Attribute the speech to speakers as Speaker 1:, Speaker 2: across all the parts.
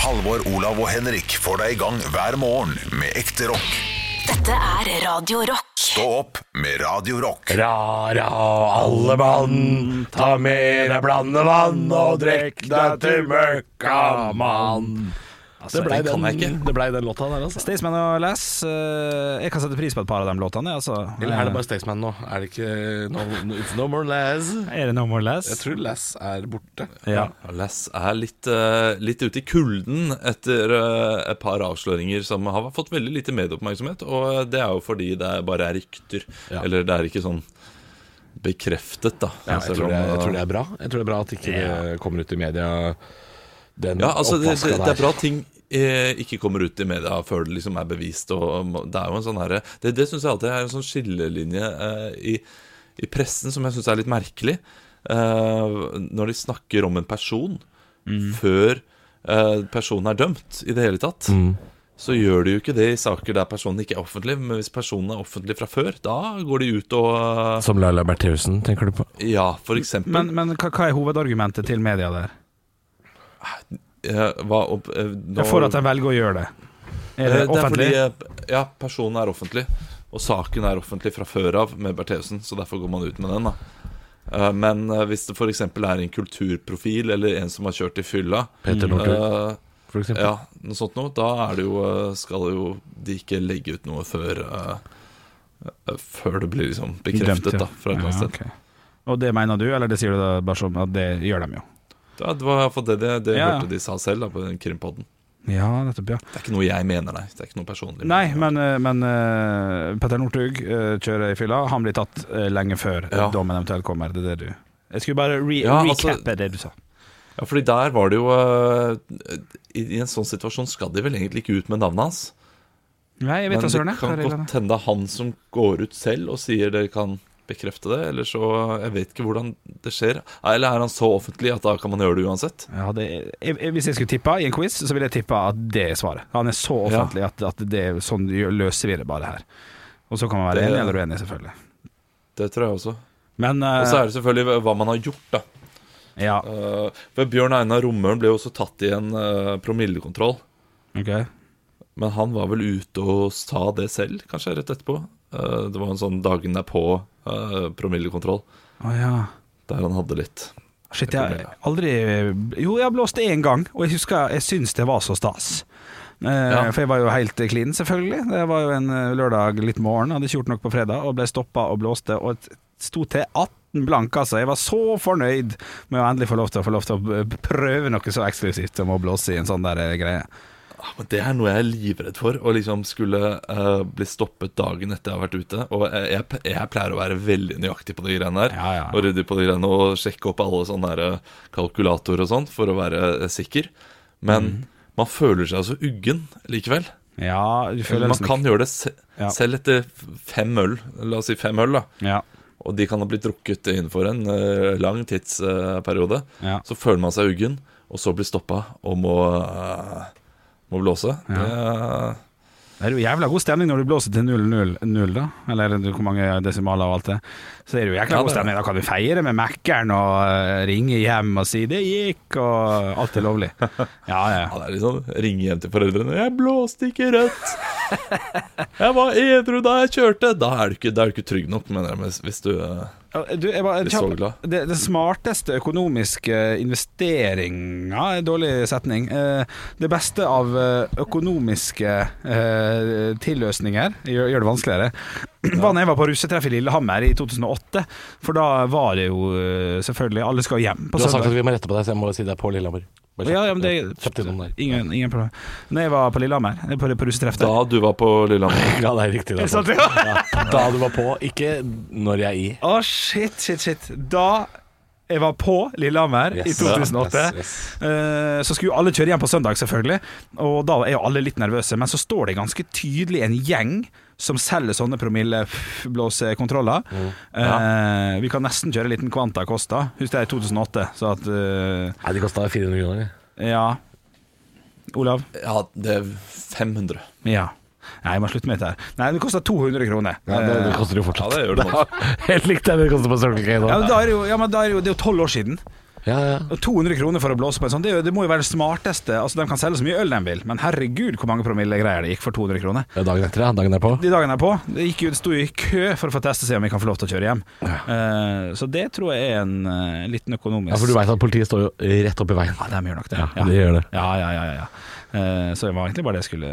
Speaker 1: Halvor, Olav og Henrik får deg i gang hver morgen med ekte rock.
Speaker 2: Dette er Radio Rock.
Speaker 1: Stå opp med Radio Rock.
Speaker 3: Ra, ra, alle mann, ta med deg blandevann og drekk deg til møkkamann. Altså,
Speaker 4: det blei den,
Speaker 3: det ble den låta der, altså.
Speaker 4: Staysman og Lass. eh, jeg kan sette pris på et par av de låtene. jeg, Altså.
Speaker 3: Eller er det bare Staysman nå? Er det ikke no, no- It's no more Lass?
Speaker 4: Er det No More Lass?
Speaker 3: Jeg tror Lass er borte.
Speaker 4: ja.
Speaker 5: Lass er litt, eh, litt ute i kulden etter eh, et par avsløringer som har fått veldig lite medieoppmerksomhet. Og eh, det er jo fordi det er bare er rykter.
Speaker 3: Ja.
Speaker 5: Eller det er ikke sånn bekreftet, da.
Speaker 3: Ja, jeg,
Speaker 5: Selv
Speaker 3: tror
Speaker 5: om,
Speaker 3: det, jeg
Speaker 5: eh,
Speaker 3: tror det er bra. Jeg tror det er bra at ikke det kommer ut i media, den
Speaker 5: Ja, altså det,
Speaker 3: oppvasken
Speaker 5: det, det er
Speaker 3: der.
Speaker 5: bra at ting eh, ikke kommer ut i media før det liksom er bevist. Og, og det er jo en sånn herre Det, det syns jeg alltid er en sånn skillelinje eh, i, i pressen som jeg syns er litt merkelig. eh, når de snakker om en person før eh, personen er dømt i det hele tatt. Så gjør de jo ikke det i saker der personen ikke er offentlig, men hvis personen er offentlig fra før, da går de ut og eh,
Speaker 3: Som Laila Bertheussen, tenker du på?
Speaker 5: Ja, for eksempel.
Speaker 4: Men, men hva, hva er hovedargumentet til media der?
Speaker 5: eh, hva, og, eh, nå-
Speaker 4: For at de velger å gjøre det? Er
Speaker 5: Eh,
Speaker 4: det offentlig?
Speaker 5: Det er fordi, eh, ja, personen er offentlig, og saken er offentlig fra før av med Bertheussen, så derfor går man ut med den. da Eh, Men eh, hvis det f.eks. er en kulturprofil eller en som har kjørt i fylla
Speaker 3: Petter Northug,
Speaker 5: eh,
Speaker 3: for eksempel.
Speaker 5: ja, noe sånt noe. Da er det jo, eh, skal jo de ikke legge ut noe før eh, eh, Før det blir liksom bekreftet
Speaker 4: Dømt, ja.
Speaker 5: da fra et eller annet
Speaker 4: Ja, ok.
Speaker 5: sted.
Speaker 4: Og det mener du, eller det sier du da bare som at det gjør de jo?
Speaker 5: Da- Det var i hvert fall det, det, det
Speaker 4: Ja, ja.
Speaker 5: hørte de sa selv da, på den krimpodden.
Speaker 4: Ja, nettopp, ja.
Speaker 5: Det er ikke noe jeg mener, nei. Det er ikke noe personlig.
Speaker 4: Nei, men, eh, men eh, Petter Northug eh, kjører i fylla. Han blir tatt eh, lenge før
Speaker 5: Ja.
Speaker 4: ja. dommen eventuelt kommer. Det er det du Jeg skulle bare re
Speaker 5: Ja, altså-
Speaker 4: recappe det du sa.
Speaker 5: Ja, fordi der var det jo eh, I i en sånn situasjon skal de vel egentlig ikke ut med navnet hans.
Speaker 4: Nei, jeg vet
Speaker 5: Men
Speaker 4: da søren.
Speaker 5: det
Speaker 4: jeg. Hva
Speaker 5: kan
Speaker 4: er reglene?
Speaker 5: godt hende det er han som går ut selv og sier dere kan bekrefte det. Eller så Jeg vet ikke hvordan det skjer. Eller er han så offentlig at da kan man gjøre det uansett?
Speaker 4: Ja, det, er- jeg, jeg, hvis jeg skulle tippa i en quiz, så ville jeg tippa at det er svaret. Han er så offentlig at, at det er sånn gjør- løser vi det bare her. Og så kan man være
Speaker 5: Det-
Speaker 4: enig eller uenig, selvfølgelig.
Speaker 5: Det tror jeg også.
Speaker 4: Men eh,
Speaker 5: Og så er det selvfølgelig hva man har gjort, da.
Speaker 4: Ja,
Speaker 5: Eh, For Bjørn Einar Romøren ble jo også tatt i en eh, promillekontroll.
Speaker 4: ok.
Speaker 5: Men han var vel ute og sa det selv, kanskje, rett etterpå. Eh, Det var en sånn dagen derpå-promillekontroll,
Speaker 4: Å ja.
Speaker 5: der han hadde litt.
Speaker 4: Shit, jeg har aldri Jo, jeg har blåst én gang, og jeg husker jeg syns det var så stas. Eh, For jeg var jo helt clean, selvfølgelig. Det var jo en eh, lørdag litt morgen, hadde ikke gjort noe på fredag, og ble stoppa og blåste, og t- sto til 18 blank, altså. Jeg var så fornøyd med å endelig få lov til å, få lov til å b- prøve noe så eksklusivt som å blåse i en sånn der eh, greie.
Speaker 5: Ja, Men det er noe jeg er livredd for. Å liksom skulle eh, bli stoppet dagen etter jeg har vært ute. Og jeg, jeg, jeg pleier å være veldig nøyaktig på de greiene der.
Speaker 4: Ja, ja.
Speaker 5: Og ryddig på de greiene og sjekke opp alle sånne der, eh, kalkulatorer og sånn for å være eh, sikker. Men
Speaker 4: Mhm.
Speaker 5: man føler seg så uggen likevel.
Speaker 4: Ja, du føler
Speaker 5: Man
Speaker 4: liksom
Speaker 5: kan gjøre det se
Speaker 4: Ja.
Speaker 5: selv etter fem øl. La oss si fem øl, da.
Speaker 4: ikke- Ja.
Speaker 5: Og de kan ha blitt drukket innenfor en eh, lang tidsperiode.
Speaker 4: Ja.
Speaker 5: Så føler man seg uggen, og så blir stoppa og må, eh, må blåse. Det,
Speaker 4: Det er jo jævla god stemning når du blåser til 0-0, null, da. Eller hvor mange desimaler og alt det. Så er det jo jækla
Speaker 5: Ja, det
Speaker 4: god
Speaker 5: er
Speaker 4: stemning. Da kan du feire med Mækkern og eh, ringe hjem og si 'det gikk', og alt er lovlig. Ja, ja.
Speaker 5: Ja, det er liksom ringe hjem til foreldrene 'Jeg blåste ikke rødt'. 'Jeg var edru da jeg kjørte'. Da er du ikke, da er du ikke trygg nok, mener jeg. men Hvis du eh,
Speaker 4: Du, jeg bare,
Speaker 5: Blir så glad.
Speaker 4: kjapp, det, det smarteste økonomiske investeringa er en Dårlig setning. Eh, Det beste av eh, økonomiske eh, tilløsninger gjør, gjør det vanskeligere. Var da jeg var på russetreff i Lillehammer i 2008, for da var det jo eh, selvfølgelig Alle skal hjem på
Speaker 3: Du har sagt
Speaker 4: søndag.
Speaker 3: at vi må rette på deg, så jeg må si det er på Lillehammer. Bare
Speaker 4: Ja,
Speaker 3: kjapt-
Speaker 4: ja, men
Speaker 3: kjapt
Speaker 4: det
Speaker 3: innom der.
Speaker 4: ingen, ingen problem. Når jeg var på Lillehammer, eh, på, på russetreff der
Speaker 5: Da du var på Lillehammer.
Speaker 3: Ja, det er riktig. Det er sant. Ja, da du var på, ikke når jeg er i.
Speaker 4: Å, shit, shit, shit. Da jeg var på Lillehammer i
Speaker 3: Yes.
Speaker 4: 2008,
Speaker 3: Yes, yes.
Speaker 4: eh, så skulle jo alle kjøre hjem på søndag, selvfølgelig. Og da er jo alle litt nervøse, men så står det ganske tydelig en gjeng som selger sånne promilleblåsekontroller.
Speaker 3: Mm.
Speaker 4: Eh, vi kan nesten kjøre en liten Quanta Costa. Husk det er i 2008, så at eh,
Speaker 3: Nei, de kosta 400 kroner.
Speaker 4: Ja. Olav?
Speaker 5: Ja, det er 500.
Speaker 4: Ja. Nei, jeg må slutte med dette her. Nei, det koster 200 kroner. Eh,
Speaker 3: Ja, det, det koster jo
Speaker 5: Ja,
Speaker 3: fortsatt.
Speaker 5: det gjør det nok.
Speaker 3: Helt likt det det koster på Circle K nå.
Speaker 4: Ja, men da er det jo, ja, men da er det jo, det er jo 12 år siden.
Speaker 3: Ja, ja.
Speaker 4: Og 200 kroner for å blåse på en sånn, det, er jo- det må jo være det smarteste. Altså, De kan selge så mye øl de vil, men herregud hvor mange promille greier det gikk for 200 kroner.
Speaker 3: Det er Dagen etter, ja. Dagen derpå.
Speaker 4: De dagene jeg på, det gikk jo, sto jo i kø for å få teste seg om jeg kan få lov til å kjøre hjem. Eh, så det tror jeg er en eh, liten økonomisk
Speaker 3: Ja, for du veit at politiet står jo rett opp i veien.
Speaker 4: Ja, de gjør nok det.
Speaker 3: Ja, de gjør det.
Speaker 4: Ja, ja, ja. ja, ja. Eh, så det var egentlig bare det jeg skulle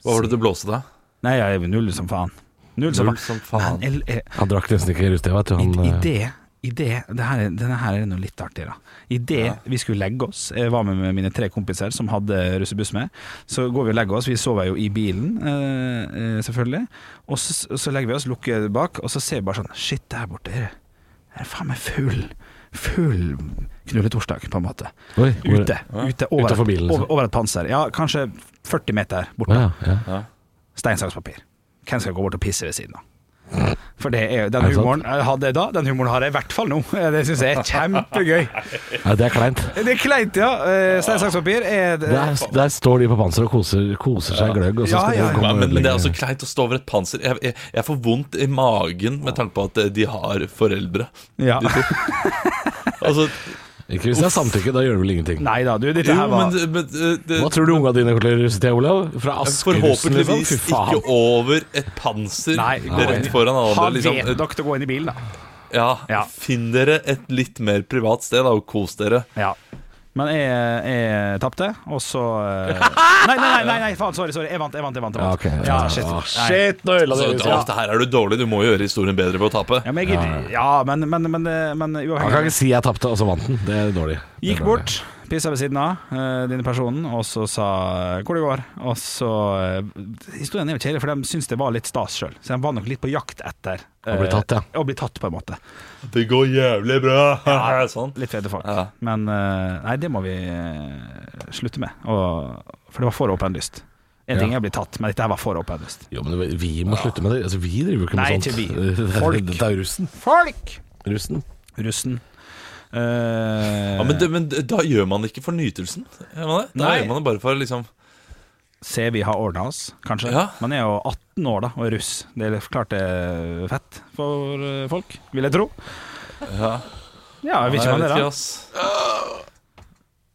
Speaker 5: Hva var det du blåste da?
Speaker 4: Nei, jeg er null som faen. Null som
Speaker 5: Null
Speaker 4: faen. E,
Speaker 5: som faen.
Speaker 4: Men, jeg- jeg-
Speaker 3: Han drakk nesten ikke rus, det, vet du. Han,
Speaker 4: I, i
Speaker 3: eh,
Speaker 4: det, i det, det her, er- Denne her er noe litt artig da I det vi skulle legge oss Jeg var med, med mine tre kompiser som hadde russebuss med Så går vi og legger oss Vi sover jo i bilen eh, eh, selvfølgelig Og så, så legger vi oss, lukker bak Og så ser vi bare sånn Shit, der borte er det er det faen meg full Full knulletorsdag på en måte
Speaker 3: Oi, hvor-
Speaker 4: Ute, ute over,
Speaker 3: Utenfor bilen, liksom.
Speaker 4: over, over et panser Ja, kanskje 40 meter borte
Speaker 3: Ja, ja.
Speaker 4: Steinsakspapir. Hvem skal gå bort og pisse ved siden av? For det er, den
Speaker 3: Er det sant?
Speaker 4: humoren jeg hadde da, den humoren har jeg i hvert fall nå. Det syns jeg er kjempegøy.
Speaker 3: ja, det er kleint.
Speaker 4: Det er kleint, ja. Eh, Steinsakspapir er
Speaker 3: Der, der står de på panser og koser, koser seg gløgg, og så
Speaker 4: Ja,
Speaker 3: skal
Speaker 4: ja,
Speaker 3: de
Speaker 4: ja.
Speaker 3: komme
Speaker 5: Ja,
Speaker 3: og
Speaker 5: men, men det er
Speaker 3: ødelegge.
Speaker 5: altså- også kleint å stå over et panser. Jeg, jeg, jeg får vondt i magen med tanke på at eh, de har foreldre.
Speaker 4: ja.
Speaker 5: Altså,
Speaker 3: Ikke hvis det er samtykke, da gjør det vel ingenting.
Speaker 4: Nei da, du, dette
Speaker 5: jo,
Speaker 4: her var
Speaker 5: men, men eh, det,
Speaker 3: Hva tror du unga dine kommer til å russe til, Olav? Fra Askerussen, liksom?
Speaker 5: Forhåpentligvis
Speaker 3: Fy
Speaker 5: ikke
Speaker 3: faen.
Speaker 5: over et panser
Speaker 4: Nei,
Speaker 5: rett foran alle andre.
Speaker 4: Han vet
Speaker 5: Liksom.
Speaker 4: nok til å gå inn i bilen, da.
Speaker 5: Ja,
Speaker 4: Ja.
Speaker 5: Finn dere et litt mer privat sted da, og kos dere.
Speaker 4: Ja. Men jeg, jeg tapte, og så eh, Nei, nei, nei, nei, nei faen, sorry, sorry. Jeg vant, jeg vant. jeg vant, jeg
Speaker 3: Ja,
Speaker 4: vant.
Speaker 3: ok.
Speaker 4: Ja, shit.
Speaker 3: Å,
Speaker 4: Nei.
Speaker 3: shit, nå ødela
Speaker 5: Så,
Speaker 3: dere
Speaker 5: ja.
Speaker 3: huset.
Speaker 5: det her er du dårlig, du må gjøre historien bedre ved å tape.
Speaker 4: Ja, men jeg gidder Ja, men, men, men, eh, men
Speaker 3: Han kan
Speaker 4: uavhengig
Speaker 3: ikke si jeg tapte, og så vant den. Det er dårlig. Det er
Speaker 4: Gikk
Speaker 3: dårlig.
Speaker 4: bort, pissa ved siden av eh, denne personen, og så sa eh, hvor det går. Og så eh, Historien er jo kjedelig, for de syns det var litt stas sjøl. Så de var nok litt på jakt etter eh,
Speaker 3: Å bli tatt, ja.
Speaker 4: Å bli tatt, på en måte.
Speaker 5: Det går jævlig bra! sånn.
Speaker 4: Litt fete folk.
Speaker 5: Ja.
Speaker 4: Men eh, nei, det må vi eh, slutte med. Og, for det var for åpen lyst. En ting er å bli tatt, men dette her var for åpen lyst.
Speaker 3: Jo, men det- vi må slutte med det. Altså, vi driver jo ikke med
Speaker 4: Nei,
Speaker 3: sånt.
Speaker 4: ikke vi.
Speaker 3: Det er-
Speaker 4: Folk.
Speaker 3: Dette er russen.
Speaker 4: Folk!
Speaker 3: Russen.
Speaker 4: Russen. Eh,
Speaker 5: Ja, men, det, men det- da gjør man det ikke for nytelsen. Gjør man det? Da
Speaker 4: Nei.
Speaker 5: gjør man det bare for liksom
Speaker 4: Se, vi har ordna oss, kanskje.
Speaker 5: Ja.
Speaker 4: Man er jo 18 år da, og er russ. Det er klart det er fett for eh, folk, vil jeg tro.
Speaker 5: Ja,
Speaker 4: Ja, jeg vil ikke man
Speaker 5: Nei,
Speaker 4: det,
Speaker 5: jeg vet
Speaker 4: da.
Speaker 5: ikke,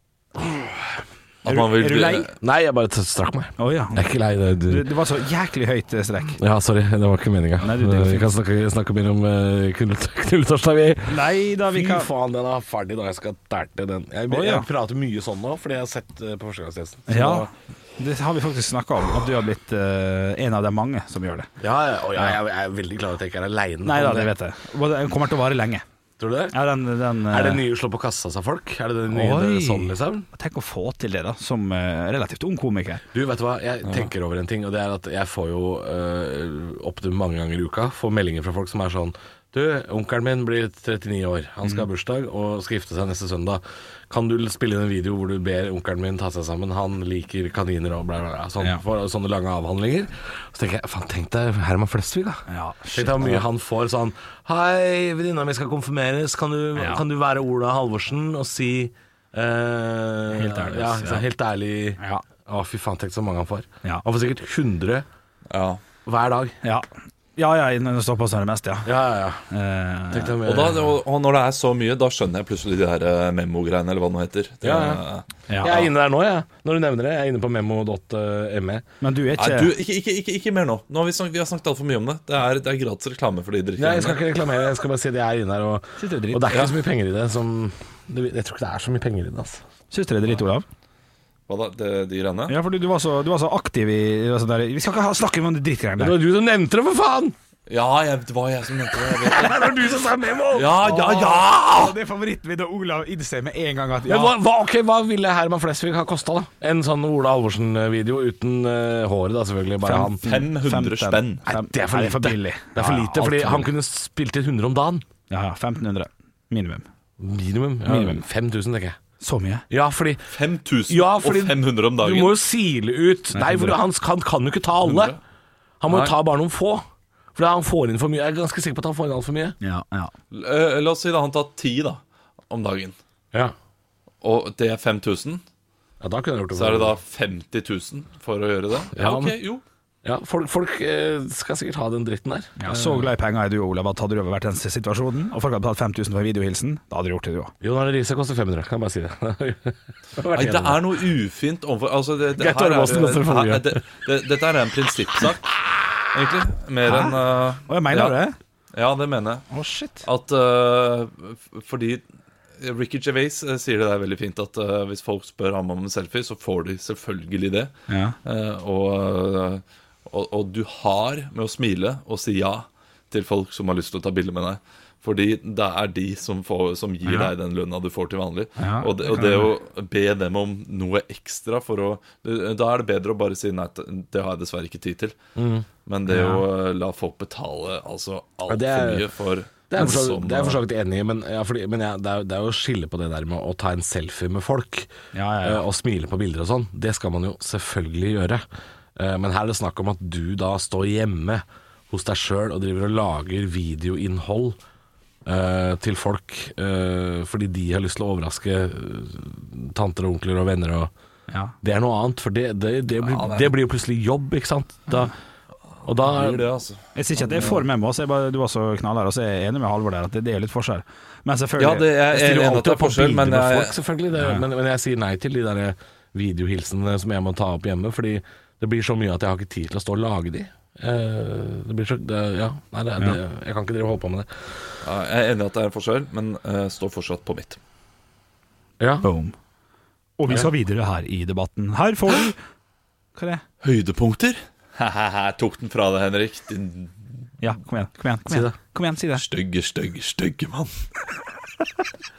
Speaker 5: ass. At man vil
Speaker 4: Er du lei?
Speaker 3: Eh, Nei, jeg bare strakk meg.
Speaker 4: Å ja.
Speaker 3: Jeg er ikke lei. Det,
Speaker 4: Du,
Speaker 3: du.
Speaker 4: det var så jæklig høyt eh, strekk.
Speaker 3: Ja, sorry. Det var ikke meninga.
Speaker 4: Nei, du, det går
Speaker 3: Vi
Speaker 4: fint.
Speaker 3: kan snakke, snakke mer om eh, knull- knulletorsdag, vi.
Speaker 4: Nei da, vi
Speaker 3: Fy
Speaker 4: kan
Speaker 3: faen, den er ferdig da jeg skal terte den. Jeg,
Speaker 4: Å, ja.
Speaker 3: jeg prater mye sånn nå, fordi jeg har sett eh, på førstegangstjenesten. Så
Speaker 4: Ja,
Speaker 3: da-
Speaker 4: det har vi faktisk snakka om, at du har blitt eh, en av de mange som gjør det.
Speaker 3: ja, ja, og jeg, jeg, jeg er veldig klar over at jeg ikke er aleine.
Speaker 4: Nei da, det vet jeg. Og Den kommer til å vare lenge.
Speaker 3: Tror du det?
Speaker 4: Ja, den, den, eh,
Speaker 3: Er det nye slå på kassa, sa folk? Er det det nye
Speaker 4: Oi.
Speaker 3: det, sånn, liksom?
Speaker 4: Tenk å få til det, da, som eh, relativt ung komiker.
Speaker 3: Du, vet du hva? Jeg tenker over en ting, og det er at jeg får jo øh, opptil mange ganger i uka får meldinger fra folk som er sånn Du, onkelen min blir 39 år. Han skal ha bursdag og skal gifte seg neste søndag. Kan du spille inn en video hvor du ber onkelen min ta seg sammen? Han liker kaniner og bla, bla, bla. Sånn,
Speaker 4: Ja.
Speaker 3: for, sånne lange avhandlinger. Så tenker jeg faen, tenk deg Herman Flesvig, da.
Speaker 4: Ja,
Speaker 3: Tenk deg hvor mye han får sånn Hei, venninna mi skal konfirmeres. Kan du,
Speaker 4: Ja.
Speaker 3: kan du være Ola Halvorsen og si eh,
Speaker 4: Helt ærlig,
Speaker 3: Ja,
Speaker 4: ass,
Speaker 3: ikke sant?
Speaker 4: ja.
Speaker 3: helt ærlig.
Speaker 4: Ja.
Speaker 3: Å, fy faen, tenk så mange han får.
Speaker 4: Ja.
Speaker 3: Han får sikkert 100
Speaker 5: Ja.
Speaker 3: hver dag.
Speaker 4: Ja, ja, ja når det står på, så er det mest, ja.
Speaker 3: Ja, ja, ja.
Speaker 4: Eh,
Speaker 3: Tenk deg mer.
Speaker 5: Og, da, og, og når det er så mye, da skjønner jeg plutselig de her eh, memo-greiene, eller hva det nå heter. Det,
Speaker 3: Ja, ja. Jeg
Speaker 4: ja.
Speaker 3: er inne der nå, jeg. Når du nevner det. Jeg er inne på memo.me.
Speaker 4: Men du er
Speaker 5: Nei,
Speaker 4: ikke
Speaker 5: du, ikke, ikke, ikke, ikke mer nå. nå har vi, snakket, vi har snakket altfor mye om det. Det er, det er gratis reklame for de
Speaker 3: Nei, jeg skal
Speaker 5: drikkene.
Speaker 3: ikke reklamere. Jeg skal bare si at jeg er inne der. Og, og det
Speaker 4: Sitter
Speaker 3: er
Speaker 4: og driter.
Speaker 3: ikke så mye penger i det som det- Jeg tror ikke det er så mye penger i det, altså.
Speaker 4: Syns dere det er dritt, Olav?
Speaker 5: Hva da, de, de greiene?
Speaker 4: Ja, for du, du, var så, du var så aktiv i, i det sånn der Vi skal ikke ha, snakke om de drittgreiene
Speaker 3: Det
Speaker 4: der.
Speaker 3: var du som nevnte det, for faen!
Speaker 5: Ja, jeg, det var jeg som nevnte det. Jeg vet det.
Speaker 3: Det var du som sa memo!
Speaker 5: Ja, ja, ja!
Speaker 4: Det er favoritten min, og Olav innser med en gang at
Speaker 3: Men hva, hva, ok, hva ville Herman Flesvig ha kosta, da? En sånn Ola Halvorsen-video uten eh, håret, da selvfølgelig. Bare han.
Speaker 5: 500 spenn.
Speaker 3: Nei, det er for lite.
Speaker 4: Nei, det er for billig.
Speaker 3: Det er for
Speaker 4: Ja,
Speaker 3: lite,
Speaker 4: alt
Speaker 3: fordi
Speaker 4: for
Speaker 3: han
Speaker 4: billig.
Speaker 3: kunne spilt inn 100 om dagen.
Speaker 4: Ja, ja, 1500 minimum.
Speaker 3: Minimum. Ja,
Speaker 4: Minimum.
Speaker 3: 5000, tenker jeg.
Speaker 4: Så mye?
Speaker 3: Ja, fordi
Speaker 5: 5000
Speaker 3: Ja, fordi
Speaker 5: og 500 om dagen.
Speaker 3: Du må jo sile ut Nei, for
Speaker 4: 100.
Speaker 3: han kan, kan jo ikke ta alle.
Speaker 5: 100.
Speaker 3: Han må
Speaker 5: Nei.
Speaker 3: jo ta bare noen få. For han får inn for mye. Jeg er ganske sikker på at han får inn altfor mye.
Speaker 4: Ja, ja.
Speaker 5: Eh, La oss si da han tar 10 da, om dagen,
Speaker 3: Ja.
Speaker 5: og det er 5000.
Speaker 3: ja, da kunne jeg gjort det.
Speaker 5: Så er det da 50 000 for å gjøre det? Ja,
Speaker 3: Ja,
Speaker 5: ok,
Speaker 3: men-
Speaker 5: jo.
Speaker 3: Ja, folk, folk eh, skal sikkert ha den dritten der.
Speaker 4: Ja, så glad i penger er du, Olav, at hadde du vært i den situasjonen, og folk hadde betalt 5000 for en videohilsen, da hadde du gjort det, du òg.
Speaker 3: Jon Arne Riise koster 500, kan jeg bare si det.
Speaker 5: Nei, det er noe ufint overfor altså, det, det,
Speaker 3: Gaute
Speaker 5: her er,
Speaker 3: Ormåsen koster for mye.
Speaker 5: her- det, det, Dette er en prinsippsak, egentlig. Mer enn uh,
Speaker 4: Og jeg mener
Speaker 5: ja.
Speaker 4: det.
Speaker 5: Ja, det mener jeg.
Speaker 4: Å, shit.
Speaker 5: At øh, f- Fordi Ricky Gervais øh, sier det der veldig fint at øh, hvis folk spør ham om en selfie, så får de selvfølgelig det.
Speaker 4: Ja.
Speaker 5: Eh, og, øh, og, og du har med å smile og si ja til folk som har lyst til å ta bilde med deg. Fordi det er de som, får, som gir deg den lønna du får til vanlig.
Speaker 4: Ja,
Speaker 5: og, det, og det å be dem om noe ekstra for å Da er det bedre å bare si nei, det har jeg dessverre ikke tid til. Men det å øh, la folk betale altså
Speaker 3: Mm. Ja, det
Speaker 5: altfor
Speaker 3: er-
Speaker 5: mye for sånn
Speaker 3: Det er jeg for så-
Speaker 5: som,
Speaker 3: det er jeg for så vidt enig i, men, ja, fordi, men jeg- det, er, det er jo å skille på det der med å ta en selfie med folk
Speaker 4: Ja, ja, ja.
Speaker 3: eh, og smile på bilder og sånn. Det skal man jo selvfølgelig gjøre. Eh, Men her er det snakk om at du da står hjemme hos deg sjøl og driver og lager videoinnhold eh, til folk eh, fordi de har lyst til å overraske eh, tanter og onkler og venner og
Speaker 4: Ja.
Speaker 3: Det er noe annet, for det, det, det, blir, det, blir jo plutselig jobb, ikke sant. Da, og da
Speaker 5: blir det, altså.
Speaker 4: Jeg sier ikke at jeg er for med meg, så jeg bare, du var så knallhard, og så er jeg enig med Halvor der at det, det er litt forskjell. Men selvfølgelig
Speaker 5: Ja, det er, jeg
Speaker 3: Jeg
Speaker 5: er
Speaker 3: stiller jo
Speaker 5: enig at
Speaker 3: alltid opp
Speaker 5: det er
Speaker 3: på
Speaker 5: forskjell,
Speaker 3: bilder
Speaker 5: men
Speaker 3: med
Speaker 5: jeg,
Speaker 3: folk, selvfølgelig. Det, men, men jeg sier nei til de der videohilsenene som jeg må ta opp hjemme, fordi det blir så mye at jeg har ikke tid til å stå og lage de. Eh, Det blir så det, Ja, nei, det, det, jeg kan ikke drive og holde på med det.
Speaker 5: Ja, jeg er enig i at det er en forskjell, men eh, står fortsatt på mitt.
Speaker 3: Ja,
Speaker 4: Boom. Og vi skal videre her i debatten. Her får du Hva er det?
Speaker 5: Høydepunkter? Haha, tok den fra deg, Henrik. Din
Speaker 4: Ja, kom igjen. Kom igjen, kom
Speaker 3: Si
Speaker 4: igjen,
Speaker 3: det.
Speaker 4: kom igjen si det.
Speaker 5: stygge, stygge, stygge mann.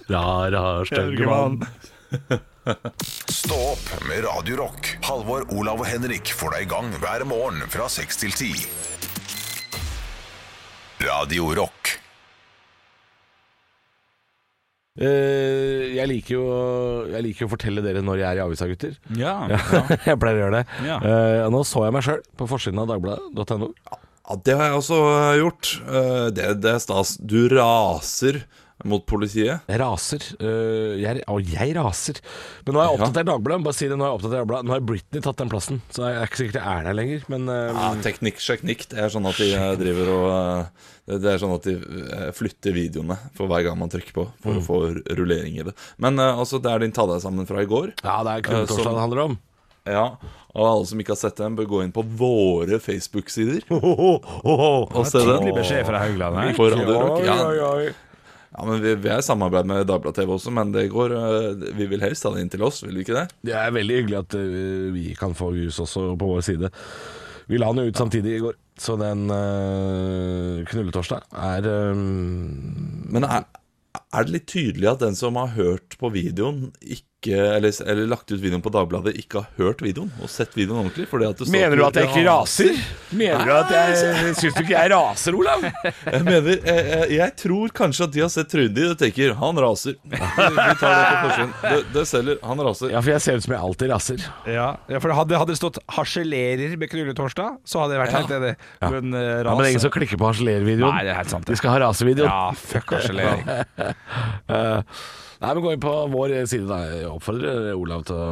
Speaker 3: rar, rar, stygge mann.
Speaker 1: Stå opp med Radio Rock. Halvor, Olav og Henrik får deg i gang hver morgen fra 6 til 10. Radio Rock.
Speaker 3: Eh, jeg, liker jo, jeg liker jo å fortelle dere når jeg er i avisa, gutter.
Speaker 4: Ja.
Speaker 3: Ja, jeg pleier å gjøre det.
Speaker 4: Ja.
Speaker 3: Eh, nå så jeg meg sjøl på forsiden av dagbladet.no.
Speaker 5: Ja, det har jeg også eh, gjort. Eh, det, det er stas. Du raser mot politiet.
Speaker 3: Jeg raser. øh, jeg, og jeg raser. Men nå har jeg oppdatert Dagbladet. Bare si det, nå har jeg oppdatert Dagbladet Nå har Britney tatt den plassen, så jeg er ikke sikkert jeg er der lenger. Men øh,
Speaker 5: Ja, teknikk, teknikk. Det er sånn at de eh, driver og eh, Det det er sånn at de eh, flytter videoene for hver gang man trykker på, for å få rullering i det. Men eh, altså, det er din ta deg sammen fra i går.
Speaker 3: ja, det er
Speaker 5: Eh,
Speaker 3: knulltorsdag
Speaker 5: som-
Speaker 3: det handler om.
Speaker 5: Ja, og alle som ikke har sett den, bør gå inn på våre Facebook-sider og se den.
Speaker 4: Tydelig beskjed fra Haugland her.
Speaker 5: På Radio
Speaker 3: Oi,
Speaker 5: Rock.
Speaker 3: oi,
Speaker 5: Ja,
Speaker 3: oi.
Speaker 5: ja men vi, vi er i samarbeid med Dagbladet TV også, men det går eh, Vi vil helst ha det inn til oss, vil vi ikke det?
Speaker 3: Det er veldig hyggelig at øh, vi kan få views også på vår side. Vi la den jo ut samtidig i går, så den øh, knulletorsdag er øh,
Speaker 5: Men er, er det litt tydelig at den som har hørt på videoen, ikke eller, eller lagt ut videoen på Dagbladet, ikke har hørt videoen og sett videoen ordentlig? Fordi at det står
Speaker 3: raser? Mener du at jeg Syns du ikke jeg raser, Olav?
Speaker 5: Jeg mener, jeg, jeg, jeg tror kanskje at de har sett Trudy og tenker 'han raser'. Vi tar det på forsiden. Det, det selger. Han raser.
Speaker 3: Ja, for jeg ser ut som jeg alltid raser.
Speaker 4: Ja, ja, for hadde, hadde det stått 'harselerer med knulletorsdag', så hadde jeg vært helt enig. Men, eh,
Speaker 3: Ja, men det er
Speaker 4: rase-
Speaker 3: ingen som klikker på harselervideoen.
Speaker 4: Nei, det er helt sant, det.
Speaker 3: De skal ha rasevideoen.
Speaker 4: Ja, fuck harselering.
Speaker 3: Eh, nei, men gå inn på vår side, da. Jeg oppfordrer Olav til å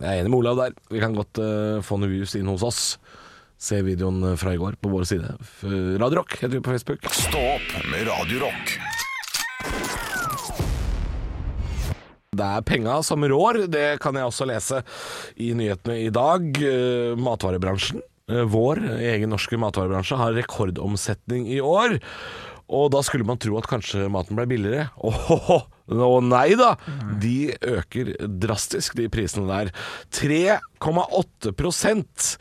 Speaker 3: Jeg er enig med Olav der. Vi kan godt eh, få noen views inn hos oss. Se videoen fra i går på vår side. F- Radio Rock heter vi på Facebook.
Speaker 1: Stå opp med Radio Rock.
Speaker 3: Det er penga som rår, det kan jeg også lese i nyhetene i dag. Eh, Matvarebransjen, eh, vår egen norske matvarebransje, har rekordomsetning i år. Og da skulle man tro at kanskje maten ble billigere. Åhåhå! Å nei da! De øker drastisk, de prisene der. 3,8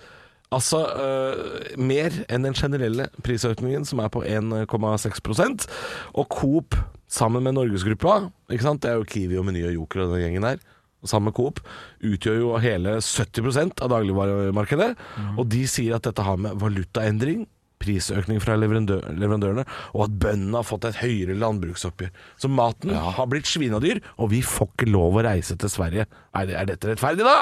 Speaker 3: Altså øh, mer enn den generelle prisøkningen, som er på 1,6 Og Coop, sammen med Norgesgruppa, ikke sant? det er jo Kiwi og Meny og Joker og den gjengen der, sammen med Coop, utgjør jo hele 70 av dagligvaremarkedet. Og de sier at dette har med valutaendring, prisøkning fra leverandø- leverandørene, og at bøndene har fått et høyere landbruksoppgjør. Så maten har blitt svinedyr, og vi får ikke lov å reise til Sverige. Er, er dette rettferdig, da?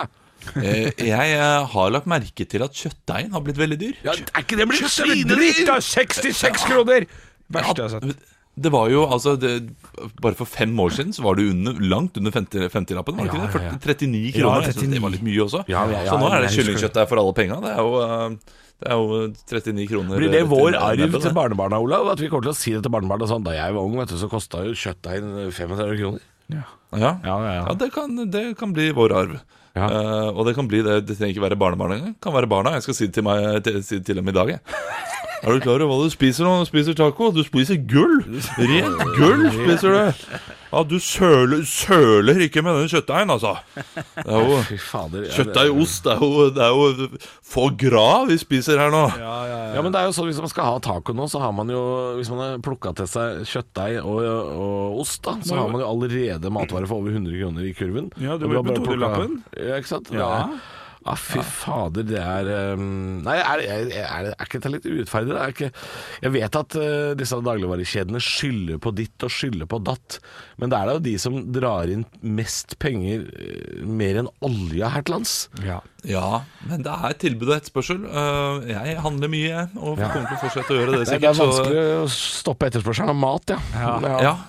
Speaker 5: Eh, Jeg eh, har lagt merke til at kjøttdeigen har blitt veldig dyr.
Speaker 3: Ja, er ikke det blitt
Speaker 4: Dritt
Speaker 3: svinedyr?
Speaker 4: av 66 kroner! Verste jeg har sett.
Speaker 5: At- Det var jo, altså det, Bare for fem år siden så var det under, langt under 50 50-lappen. var det
Speaker 3: Ja,
Speaker 5: ikke det?
Speaker 3: ja, ja.
Speaker 5: 39 kroner. jeg synes
Speaker 4: 39.
Speaker 5: det var litt mye også.
Speaker 3: Ja, ja, ja,
Speaker 5: så nå
Speaker 3: jeg
Speaker 5: er
Speaker 3: husker
Speaker 5: det
Speaker 3: det.
Speaker 5: kyllingkjøtt der for alle penga. Det, er jo, eh, det er jo 39 kroner. eh,
Speaker 3: Blir det
Speaker 5: til
Speaker 3: vår
Speaker 5: nebbet,
Speaker 3: arv
Speaker 5: det.
Speaker 3: til barnebarna, Olav? At vi kommer til å si det til barnebarna sånn Da jeg var ung, vet du, så kosta jo kjøttdeigen 35 kroner.
Speaker 4: Ja.
Speaker 5: Ja,
Speaker 4: Ja, ja, ja.
Speaker 5: det, kan, det kan bli vår arv.
Speaker 3: Ja.
Speaker 5: Eh, og det kan bli det. Det trenger ikke være barnebarn engang. Det Kan være barna. Jeg skal si det til, meg, til, si det til dem i dag. Jeg. Er du klar over hva du spiser når du spiser taco? Du spiser gull! Rent gull spiser du! Ja, du søler, søler ikke med den kjøttdeigen, altså. Det er jo
Speaker 3: Fy fader. ja, det-
Speaker 5: Kjøttdeig og ost det er jo, det er jo få grad vi spiser her nå.
Speaker 3: Ja, men det er jo sånn Hvis man skal ha taco nå, så har man jo Hvis man har plukka til seg kjøttdeig og, og ost, da, så har man jo allerede matvarer for over 100 kroner i kurven.
Speaker 4: Ja, du
Speaker 3: Og
Speaker 4: var
Speaker 3: har
Speaker 4: på
Speaker 3: bare plukket-
Speaker 4: todelappen.
Speaker 3: Ja, ikke sant? Ja.
Speaker 4: Ja.
Speaker 3: Ah, fy fader, det er um, Nei, er, er, er, er ikke det litt urettferdig? Det er ikke, jeg vet at eh, disse dagligvarekjedene skylder på ditt og skylder på datt, men det er da jo de som drar inn mest penger, eh, mer enn olja her til lands.
Speaker 4: Ja.
Speaker 5: Ja, men det er tilbud og etterspørsel. Eh, Jeg handler mye, jeg, og kommer til å fortsette å gjøre det.
Speaker 3: Det er
Speaker 5: sikkert så-
Speaker 3: vanskelig å stoppe etterspørselen av mat, ja.
Speaker 5: Ja.
Speaker 4: Eh,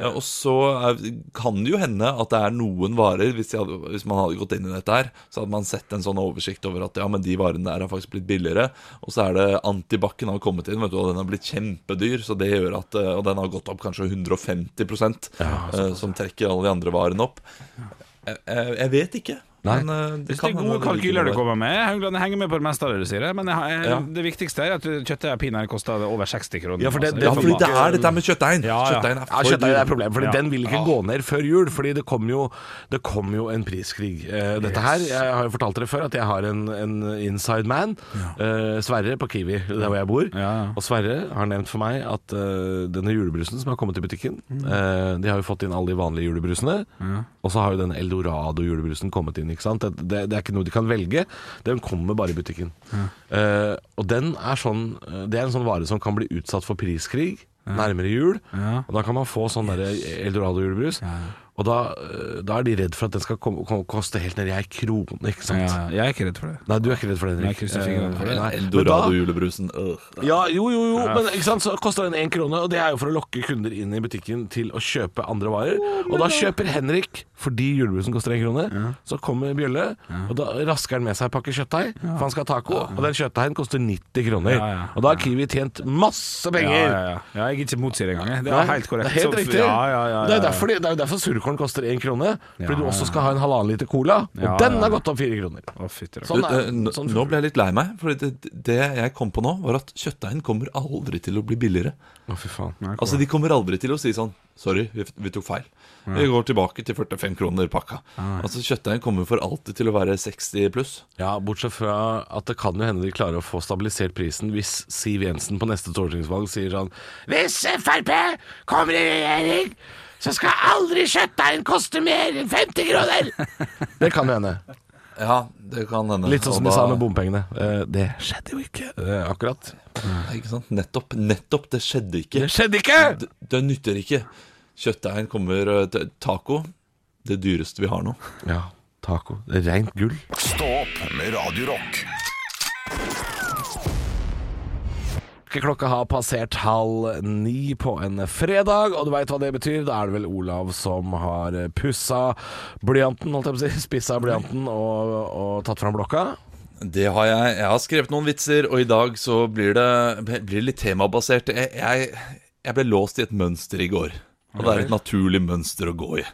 Speaker 5: Ja, og så er, kan det jo hende at det er noen varer hvis, de hadde, hvis man hadde gått inn i dette her, så hadde man sett en sånn oversikt over at ja, men de varene der har faktisk blitt billigere. Og så er det antibac-en har kommet inn, vet du, og den har blitt kjempedyr. Så det gjør at, eh, Og den har gått opp kanskje 150 eh, som trekker alle de andre varene opp. Jeg, jeg, jeg vet ikke.
Speaker 3: Nei.
Speaker 5: Men, eh,
Speaker 4: Det
Speaker 5: kan
Speaker 4: er
Speaker 5: hende
Speaker 4: gode
Speaker 5: ligger
Speaker 4: kalkyler du
Speaker 5: noe der.
Speaker 4: kommer med. Haugland, Jeg henger med på det meste av det du sier. Men jeg, jeg,
Speaker 5: Ja.
Speaker 4: det viktigste er at kjøttet av pinadø koster over 60 kroner.
Speaker 3: Ja, for det-
Speaker 4: altså.
Speaker 3: det-
Speaker 5: Ja,
Speaker 4: for
Speaker 5: fordi
Speaker 4: mye.
Speaker 5: det er dette her med kjøttdeigen.
Speaker 4: Ja, ja.
Speaker 5: Kjøttdeigen er
Speaker 3: Ja,
Speaker 5: for
Speaker 3: kjøttdeig er et
Speaker 5: dyr.
Speaker 3: problem, Fordi den vil ikke gå ned før jul. Fordi det kom jo, det kom jo en priskrig. Eh, dette her, Jeg har jo fortalt dere før at jeg har en, en inside man, eh, Sverre på Kiwi, der hvor jeg bor.
Speaker 4: Ja, ja.
Speaker 3: Og Sverre har nevnt for meg at eh, denne julebrusen som har kommet i butikken
Speaker 4: Mm.
Speaker 3: eh, De har jo fått inn alle de vanlige julebrusene. Og så har jo denne eldorado-julebrusen kommet inn. ikke sant? Det, det, det er ikke noe de kan velge. Den kommer bare i butikken. Eh, og den er sånn, eh, det er en sånn vare som kan bli utsatt for priskrig nærmere jul.
Speaker 4: Ja.
Speaker 3: Og da kan man få sånn derre eldorado-julebrus. Og da, eh, da er de redd for at den skal komme, komme, koste helt ned i ei krone, ikke sant?
Speaker 4: Ja, ja. Jeg er ikke redd for det.
Speaker 3: Nei, du er ikke redd for det, Henrik.
Speaker 4: Nei, kryss jeg fingrene for det.
Speaker 3: Eh, nei. Men da-
Speaker 5: Eldorado-julebrusen. øh.
Speaker 3: ja, jo, jo, jo, men ikke sant? så kosta den én krone. Og det er jo for å lokke kunder inn i butikken til å kjøpe andre varer. og da kjøper Henrik, fordi julebrusen koster én krone, så kommer Bjølle, og da rasker han med seg en pakke kjøttdeig, for han skal ha taco. Og den kjøttdeigen koster 90 kroner.
Speaker 4: Ja, ja.
Speaker 3: Og da har Kiwi tjent masse
Speaker 4: Ja,
Speaker 3: penger.
Speaker 4: ja, ja. ja, jeg er ikke motsier engang. jeg. Det er
Speaker 3: Nei,
Speaker 4: helt korrekt.
Speaker 3: Det er helt
Speaker 4: Så-
Speaker 3: riktig.
Speaker 4: Ja, ja, ja, ja.
Speaker 3: Det er jo derfor, det er jo derfor surkålen koster én krone. Fordi
Speaker 4: Ja,
Speaker 3: du også
Speaker 4: ja.
Speaker 3: skal ha en halvannen liter cola, og
Speaker 4: Ja,
Speaker 3: den
Speaker 4: ja,
Speaker 3: har
Speaker 4: ja.
Speaker 3: gått opp fire kroner.
Speaker 4: Å, fytti rakker.
Speaker 3: Sånn
Speaker 5: Du,
Speaker 3: er,
Speaker 5: eh, nå-
Speaker 3: sånn
Speaker 5: nå ble jeg litt lei meg, for det, det jeg kom på nå, var at kjøttdeigen kommer aldri til å bli billigere.
Speaker 3: Å, fy faen.
Speaker 4: Nei, kom.
Speaker 5: Altså, De kommer aldri til å si sånn Sorry, vi, vi tok feil. Vi går tilbake til 45 kroner pakka. Altså, Kjøttdeigen kommer for alltid til å være 60 pluss.
Speaker 3: Ja, bortsett fra at det kan jo hende de klarer å få stabilisert prisen hvis Siv Jensen på neste stortingsvalg sier sånn Hvis Frp kommer i regjering, så skal aldri kjøttdeigen koste mer enn 50 kroner! Det kan jo hende.
Speaker 5: Ja, det kan hende.
Speaker 3: Litt sånn som
Speaker 5: Og
Speaker 3: de sa
Speaker 5: da-
Speaker 3: med bompengene. Eh, Det skjedde jo ikke, eh, akkurat.
Speaker 5: Nei, Ikke sant? Nettopp. Nettopp. Det skjedde ikke.
Speaker 3: Det skjedde ikke!
Speaker 5: Det, det nytter ikke. Kjøttdeigen kommer eh, til- Taco, det dyreste vi har nå.
Speaker 3: Ja, taco. Det er Rent gull.
Speaker 1: Stå opp med Radio Rock.
Speaker 3: Ikke Klokka har passert halv ni på en fredag, og du veit hva det betyr. Da er det vel Olav som har pussa blyanten, holdt jeg på å si. Spissa blyanten og, og tatt fram blokka.
Speaker 5: Det har jeg. Jeg har skrevet noen vitser, og i dag så blir det, blir det litt temabasert. Jeg, jeg, jeg ble låst i et mønster i går, og det er et naturlig mønster å gå i.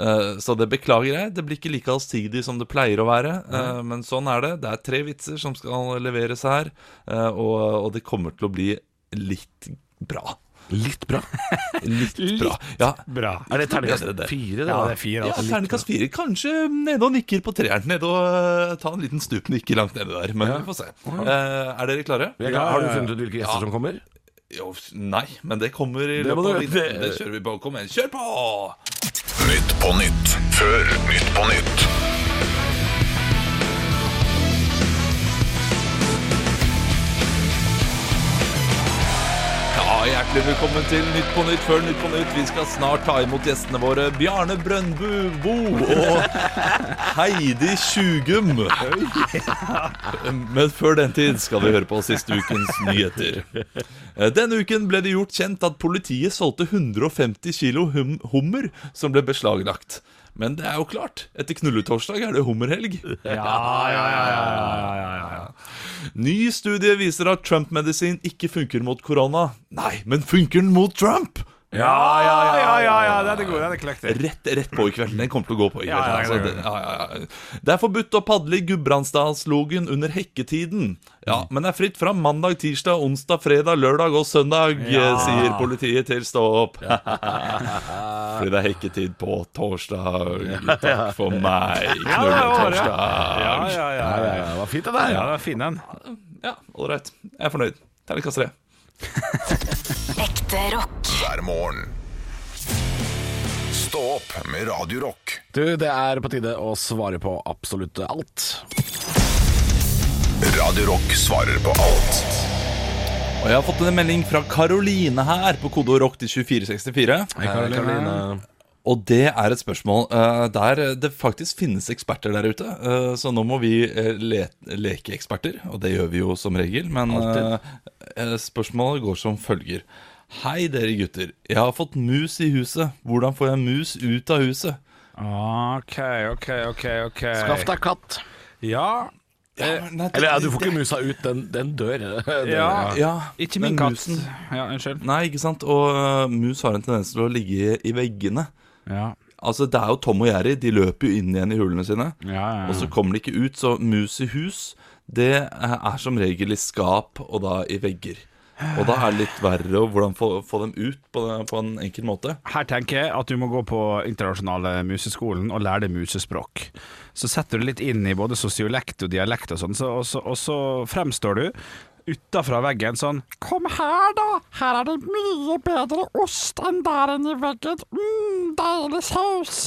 Speaker 5: Eh, Så det beklager jeg. Det blir ikke like allsidig som det pleier å være. eh, Men sånn er det. Det er tre vitser som skal leveres her, eh, og, og det kommer til å bli litt bra.
Speaker 3: Litt bra.
Speaker 5: Litt bra. Ja,
Speaker 4: Bra.
Speaker 3: Er det terningkast
Speaker 5: Ja, det er det.
Speaker 3: fire?
Speaker 4: Ja, det er fire,
Speaker 5: ja
Speaker 4: altså.
Speaker 5: terningkast fire. Kanskje nede og nikker på treeren. Nede og eh, ta en liten stup ikke langt nede der. Men vi får se. Eh, Er dere klare?
Speaker 3: Jeg,
Speaker 4: Ja,
Speaker 3: har du
Speaker 4: ja, ja.
Speaker 3: funnet ut hvilke gjester som kommer?
Speaker 5: Jo, nei, men det kommer i
Speaker 3: Det må
Speaker 5: løpet av
Speaker 3: du-
Speaker 5: det, det kjører vi på. Kom igjen, kjør på!
Speaker 1: Nytt på nytt før Nytt på nytt.
Speaker 5: Ja, Hjertelig hjertelig velkommen til Nytt på Nytt før Nytt på Nytt. Vi skal snart ta imot gjestene våre Bjarne Brøndbu Bo og Heidi Tjugum. Men før den tid skal vi høre på siste ukens nyheter. Eh, Denne uken ble det gjort kjent at politiet solgte 150 kilo hum hummer som ble beslaglagt. Men det er jo klart, etter knulletorsdag er det hummerhelg. Ny studie viser at Trump-medisin ikke funker mot korona. Nei, men funker den mot Trump?
Speaker 4: Ja, ja, ja, ja, ja, den er god. Den er kløktig.
Speaker 5: Rett, rett på i kvelden. Den kommer til å gå på i kvelden.
Speaker 4: Ja, ja, ja,
Speaker 5: altså. det, ja, ja, ja. det er forbudt å padle i Gudbrandsdalslogen under hekketiden.
Speaker 4: Mm.
Speaker 5: Ja, Men det er fritt fram mandag, tirsdag, onsdag, fredag, lørdag og søndag, eh, sier politiet til Stå opp. Fordi det er hekketid på torsdag. Takk for meg,
Speaker 4: Ja,
Speaker 5: knulletorsdag.
Speaker 4: ja, ja.
Speaker 3: Ja, ja, ja, det var fint det
Speaker 4: Ja,
Speaker 3: der.
Speaker 4: den er fin, den.
Speaker 5: Ja, ålreit. Jeg er fornøyd. Terningkast tre.
Speaker 2: Ekte rock.
Speaker 1: hver morgen. Stå opp med Radio Rock.
Speaker 3: Du, det er på tide å svare på absolutt alt.
Speaker 1: Radio Rock svarer på alt.
Speaker 5: Og jeg har fått en melding fra Karoline her på kode rock til 2464.
Speaker 3: Hei, Karoline.
Speaker 5: Og det er et spørsmål eh, der det faktisk finnes eksperter der ute. eh, så nå må vi eh, le leke eksperter, og det gjør vi jo som regel. Men eh, eh, spørsmålet går som følger. Hei, dere gutter. Jeg har fått mus i huset. Hvordan får jeg mus ut av huset?
Speaker 4: OK, OK, OK. ok
Speaker 3: Skaff deg katt.
Speaker 4: Ja.
Speaker 5: Ja, men Eh, nei, det-
Speaker 3: Eller ja, du får ikke musa ut, den, den dør. Den-
Speaker 4: Ja.
Speaker 5: ja,
Speaker 4: Ikke min
Speaker 5: men
Speaker 4: katt.
Speaker 5: musen-
Speaker 4: Ja, unnskyld.
Speaker 5: Nei, ikke sant. Og eh, mus har en tendens til å ligge i veggene.
Speaker 4: Ja,
Speaker 5: Altså, Det er jo Tom og Jerry. De løper jo inn igjen i hulene sine.
Speaker 4: ja, ja.
Speaker 5: Og så kommer de ikke ut, så mus i hus, det eh, er som regel i skap og da i vegger. Og da er det litt verre å hvordan få, få dem ut på, på en enkel måte.
Speaker 4: Her tenker jeg at du må gå på internasjonale museskolen og lære deg musespråk. Så setter du litt inn i både sosiolekt og dialekt og sånn, så, og, så, og så fremstår du utafra veggen sånn Kom her, da! Her er det mye bedre ost enn der inne i veggen. Mm, deilig saus!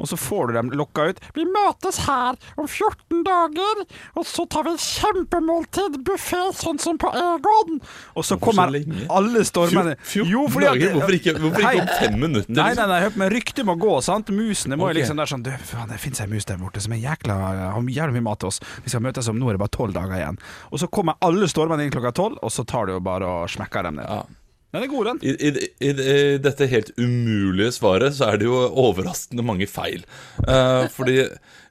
Speaker 4: Og så får du dem lokka ut. Vi møtes her om 14 dager, og så tar vi et kjempemåltid buffé, sånn som på Egon. Og så kommer
Speaker 5: lenge?
Speaker 4: alle stormene.
Speaker 5: Fjor-
Speaker 4: Jo,
Speaker 5: fjorten
Speaker 4: fordi at-
Speaker 5: dager, hvorfor ikke, hvorfor
Speaker 4: Hei.
Speaker 5: ikke om fem minutter?
Speaker 4: Nei, nei,
Speaker 5: liksom?
Speaker 4: nei, hør på meg, ryktet må gå, sant? Musene må jo
Speaker 5: Ok.
Speaker 4: liksom der sånn Du, faen, det finnes ei mus der borte som er jækla har jævlig mye mat til oss. Vi skal møtes om nå er det bare tolv dager igjen. Og så kommer alle stormene inn klokka tolv, og så tar du jo bare og smekker dem ned.
Speaker 5: Ja.
Speaker 4: Den er god, den.
Speaker 5: I, i, I i dette helt umulige svaret så er det jo overraskende mange feil. Eh, fordi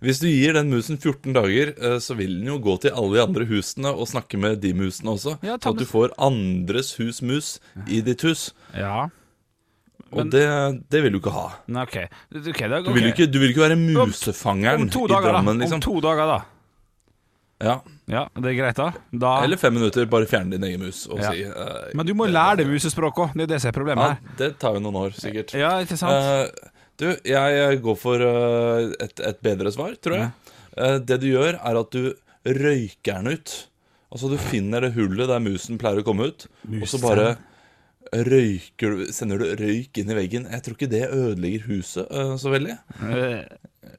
Speaker 5: hvis du gir den musen 14 dager, eh, så vil den jo gå til alle de andre husene og snakke med de musene også.
Speaker 4: Ja, ta
Speaker 5: så at du
Speaker 4: bes-
Speaker 5: får andres husmus i ditt hus.
Speaker 4: Ja.
Speaker 5: Og det, det vil du ikke ha.
Speaker 4: Nei, OK. Ok, da-
Speaker 5: Du vil jo
Speaker 4: ok.
Speaker 5: ikke, du vil ikke være
Speaker 4: Om-
Speaker 5: musefangeren
Speaker 4: Om to
Speaker 5: i
Speaker 4: dager,
Speaker 5: Drammen,
Speaker 4: da.
Speaker 5: liksom.
Speaker 4: Om to dager, da.
Speaker 5: Ja.
Speaker 4: Ja, det er greit, da. da.
Speaker 5: Eller fem minutter, bare fjerne din egen mus og
Speaker 4: Ja.
Speaker 5: si eh,
Speaker 4: Men du må lære deg musespråk òg, det er det som er problemet
Speaker 5: ja,
Speaker 4: her.
Speaker 5: Det tar jo noen år, sikkert.
Speaker 4: Ja, ikke sant?
Speaker 5: Eh, du, jeg går for eh, et, et bedre svar, tror jeg. Eh, det du gjør, er at du røyker den ut. Altså, du finner det hullet der musen pleier å komme ut, og så bare røyker du Sender du røyk inn i veggen. Jeg tror ikke det ødelegger huset eh, så veldig.
Speaker 4: Eh,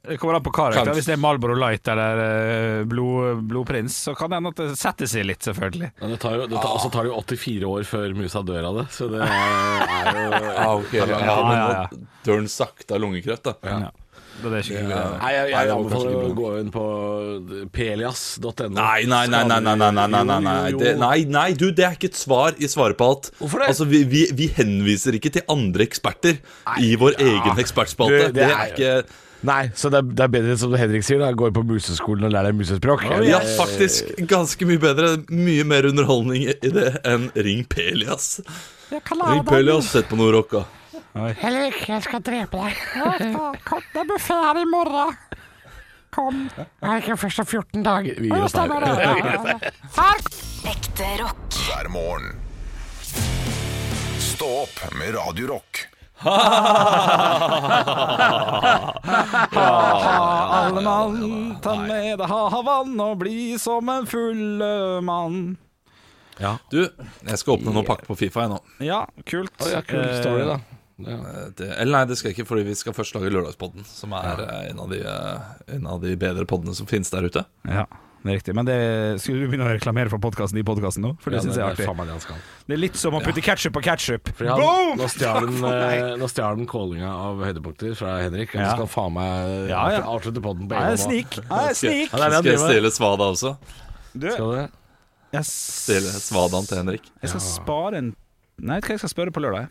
Speaker 4: Det kommer an på karakter.
Speaker 5: Kanskje.
Speaker 4: Hvis det er Marlboro Light eller eh, Blod, Blodprins, så kan det hende at det setter seg litt, selvfølgelig.
Speaker 3: Men det tar jo, det tar, også tar det jo 84 år før musa dør av det, så det er jo
Speaker 5: Ja, ok. Ja,
Speaker 4: Ja,
Speaker 5: men
Speaker 4: ja,
Speaker 5: nå dør den sakte av lungekreft, da.
Speaker 4: Ja. Det er ikke ja.
Speaker 3: Nei, jeg, jeg
Speaker 5: det var kanskje
Speaker 3: anbefaler
Speaker 5: ikke
Speaker 3: å
Speaker 5: bra.
Speaker 3: gå inn på pelias.no.
Speaker 5: Nei, nei, nei, nei, nei, nei, nei, nei, nei, nei.
Speaker 3: Jo, jo, jo.
Speaker 5: Det, nei, nei, du, det er ikke et svar i svaret på alt.
Speaker 3: Hvorfor det?
Speaker 5: Altså, vi, vi, vi henviser ikke til andre eksperter i vår egen
Speaker 3: Du,
Speaker 5: ekspertspalte.
Speaker 3: det
Speaker 5: Det er
Speaker 3: er-
Speaker 5: ikke
Speaker 6: Nei, så det er, det er bedre som Henrik sier, da. Gå inn på museskolen og lær deg musespråk.
Speaker 5: Ja, faktisk ganske mye bedre. Mye mer underholdning i det enn Ring Pelias. Ring Pelias, sett på noe rock, da.
Speaker 6: Henrik, jeg skal drepe deg.
Speaker 7: Kom, det er buffé her i morgen. Kom.
Speaker 6: Nei, ikke først om 14 dager. Vi
Speaker 7: Ja,
Speaker 6: gir oss der.
Speaker 7: stemmer det. Ja, ja, ja. Her
Speaker 2: Ekte rock.
Speaker 1: hver morgen. Stå opp med Radio Rock.
Speaker 4: Alle mann, ta med deg havann og bli som en full mann.
Speaker 5: Du, jeg skal åpne noen pakker på Fifa, jeg nå.
Speaker 4: Ja, kult.
Speaker 3: Ja, kul story, da.
Speaker 5: Eh, Det, eller nei, det skal jeg ikke, fordi vi skal først lage Lørdagspodden, som er eh, en, av de, eh, en av de bedre poddene som finnes der ute.
Speaker 4: Ja. det er riktig. Men det, skulle du begynne å reklamere for podkasten i podkasten nå? For det synes syns jeg er
Speaker 3: det
Speaker 4: artig.
Speaker 3: faen meg det han skal.
Speaker 4: Det er litt som å putte ketsjup på ketsjup.
Speaker 3: Fordi han,
Speaker 4: Boom!
Speaker 3: nå stjal han, eh, nå stjal han callinga av høydepunkter fra Henrik. Han
Speaker 4: Ja.
Speaker 3: skal faen meg eh,
Speaker 4: Ja, ja.
Speaker 3: avslutte podden på
Speaker 4: Nei,
Speaker 3: en gang.
Speaker 4: snik. Nei, snik.
Speaker 3: Ja, det er det han
Speaker 5: Skal jeg
Speaker 3: driver med.
Speaker 5: stjele svada også?
Speaker 4: Du,
Speaker 3: Skal det?
Speaker 4: jeg,
Speaker 5: Stjele
Speaker 4: s-
Speaker 5: svadaen til Henrik?
Speaker 4: jeg skal spare en Nei, vet du hva jeg skal spørre på lørdag?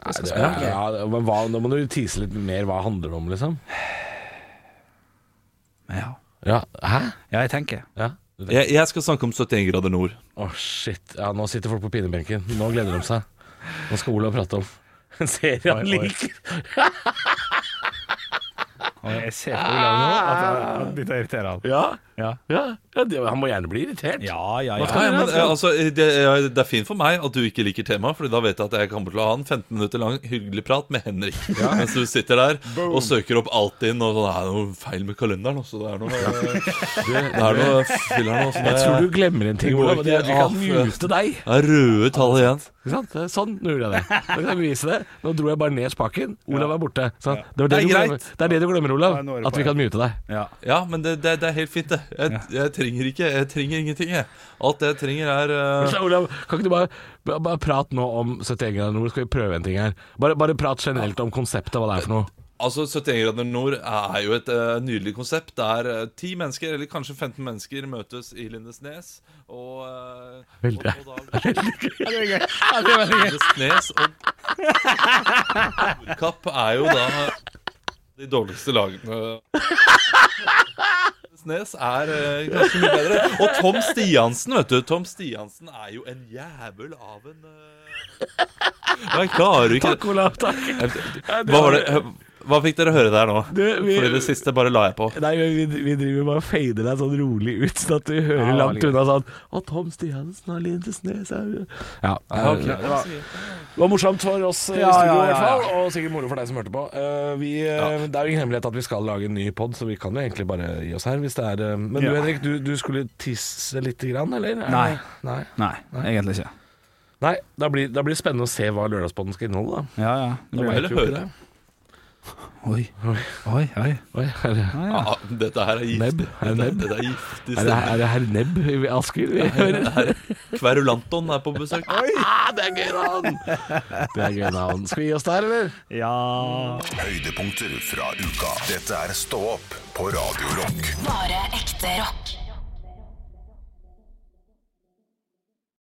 Speaker 3: Nei, det er, ja, men hva, nå må du tease litt mer hva det handler om, liksom.
Speaker 4: Ja,
Speaker 3: Ja, Hæ?
Speaker 4: ja jeg tenker.
Speaker 3: Ja. Å,
Speaker 5: Jeg, jeg skal snakke om 71 grader nord.
Speaker 3: shit. Ja, nå sitter folk på pinebenken. Nå gleder de seg. Nå skal Olav prate om en serie han liker.
Speaker 4: Og jeg ser
Speaker 3: Ah!
Speaker 4: på Olav nå at, jeg- at dette irriterer han.
Speaker 3: Ja. Ja. ja, det- Han må gjerne bli irritert.
Speaker 4: Ja, ja,
Speaker 5: Ja,
Speaker 4: ja.
Speaker 5: ja, men, eh, altså, det, eh, det er fint for meg at du ikke liker temaet, Fordi da vet jeg at jeg kommer til å ha en 15 minutter lang hyggelig prat med Henrik. Mens du sitter der og søker opp Altinn og sånn Det er noe feil med kalenderen også. Det er noe, eh, det er noe fyller noe sånn
Speaker 3: Jeg tror du glemmer en ting,
Speaker 5: Det går
Speaker 3: Olav. og Det er at vi kan
Speaker 5: ikke av.
Speaker 3: mute deg.
Speaker 5: Det er røde tall igjen.
Speaker 3: Ikke sant? Det er Sånn, nå gjorde jeg det. Nå kan jeg bevise det. Nå dro jeg bare ned spaken. Olav er borte. sant? Det, var det,
Speaker 5: Det er
Speaker 3: du
Speaker 5: greit.
Speaker 3: glemmer. det er det du glemmer, Olav.
Speaker 4: Ja, nå er det
Speaker 3: At vi
Speaker 4: på
Speaker 3: kan mute deg.
Speaker 4: ja.
Speaker 5: Ja, men det, det, det er helt fint, det. Jeg, jeg trenger ikke Jeg trenger ingenting, jeg. Alt det jeg trenger, er eh,
Speaker 3: Så, Olav, kan ikke du bare, bare, bare prate nå om 71 grader nord? Skal vi prøve en ting her? Bare, bare prat generelt om konseptet, hva det er for noe.
Speaker 5: Altså, 71 grader nord er jo et eh, nydelig konsept der eh, 10 mennesker, eller kanskje 15 mennesker, møtes i Lindesnes og eh,
Speaker 3: Veldig.
Speaker 5: og, og da,
Speaker 3: Ja, det er veldig gøy.
Speaker 5: Lindesnes og Nordkapp er jo da de dårligste lagene. Lindesnes er eh, ganske mye bedre. Og Tom Stiansen, vet du. Tom Stiansen er jo en jævel av en eh, Jeg klarer ikke
Speaker 3: Takk, Olav. Takk.
Speaker 5: Hva var det Hva fikk dere høre der nå?
Speaker 3: Du, vi,
Speaker 5: Fordi det siste bare la jeg på.
Speaker 3: Nei, men vi, vi driver bare og fader deg sånn rolig ut, sånn at du hører
Speaker 4: Ja,
Speaker 3: langt
Speaker 4: like
Speaker 3: unna sånn Å, Tom Stiansen har Lindesnes er jo-» Ja.
Speaker 5: ok,
Speaker 3: det, var, det var morsomt for oss eh, i
Speaker 4: Ja,
Speaker 3: studio, i
Speaker 4: ja, ja,
Speaker 3: hvert fall. Og sikkert moro for deg som hørte på. Eh, vi, eh, Det er jo ingen hemmelighet at vi skal lage en ny pod, så vi kan jo egentlig bare gi oss her hvis det er eh, Men du
Speaker 4: Ja.
Speaker 3: Henrik, du, du skulle tisse lite grann, eller?
Speaker 4: Nei.
Speaker 3: Nei,
Speaker 4: Nei, egentlig ikke.
Speaker 3: Nei da, blir, da blir det spennende å se hva lørdagspodden skal inneholde, da.
Speaker 4: Ja, ja.
Speaker 3: Da
Speaker 5: Eller
Speaker 3: vet vi jo ikke
Speaker 5: høre.
Speaker 3: det.
Speaker 4: Oi, oi, oi.
Speaker 3: Oi, er det,
Speaker 4: Ja, ja.
Speaker 5: Ja, dette her er
Speaker 3: Nebb.
Speaker 5: giftig.
Speaker 3: Er det
Speaker 5: Dette,
Speaker 3: nebb?
Speaker 5: dette er
Speaker 3: er
Speaker 5: giftig
Speaker 3: det,
Speaker 5: stemning.
Speaker 3: er det herr Nebb i Asker vi hører?
Speaker 5: Kverulanton er på besøk.
Speaker 3: Ah, det er gøy navn! Det er gøy navn. Skal vi gi oss der, eller?
Speaker 4: ja.
Speaker 1: Høydepunkter fra uka. Dette er Stå opp på Radio Rock.
Speaker 2: Bare ekte rock.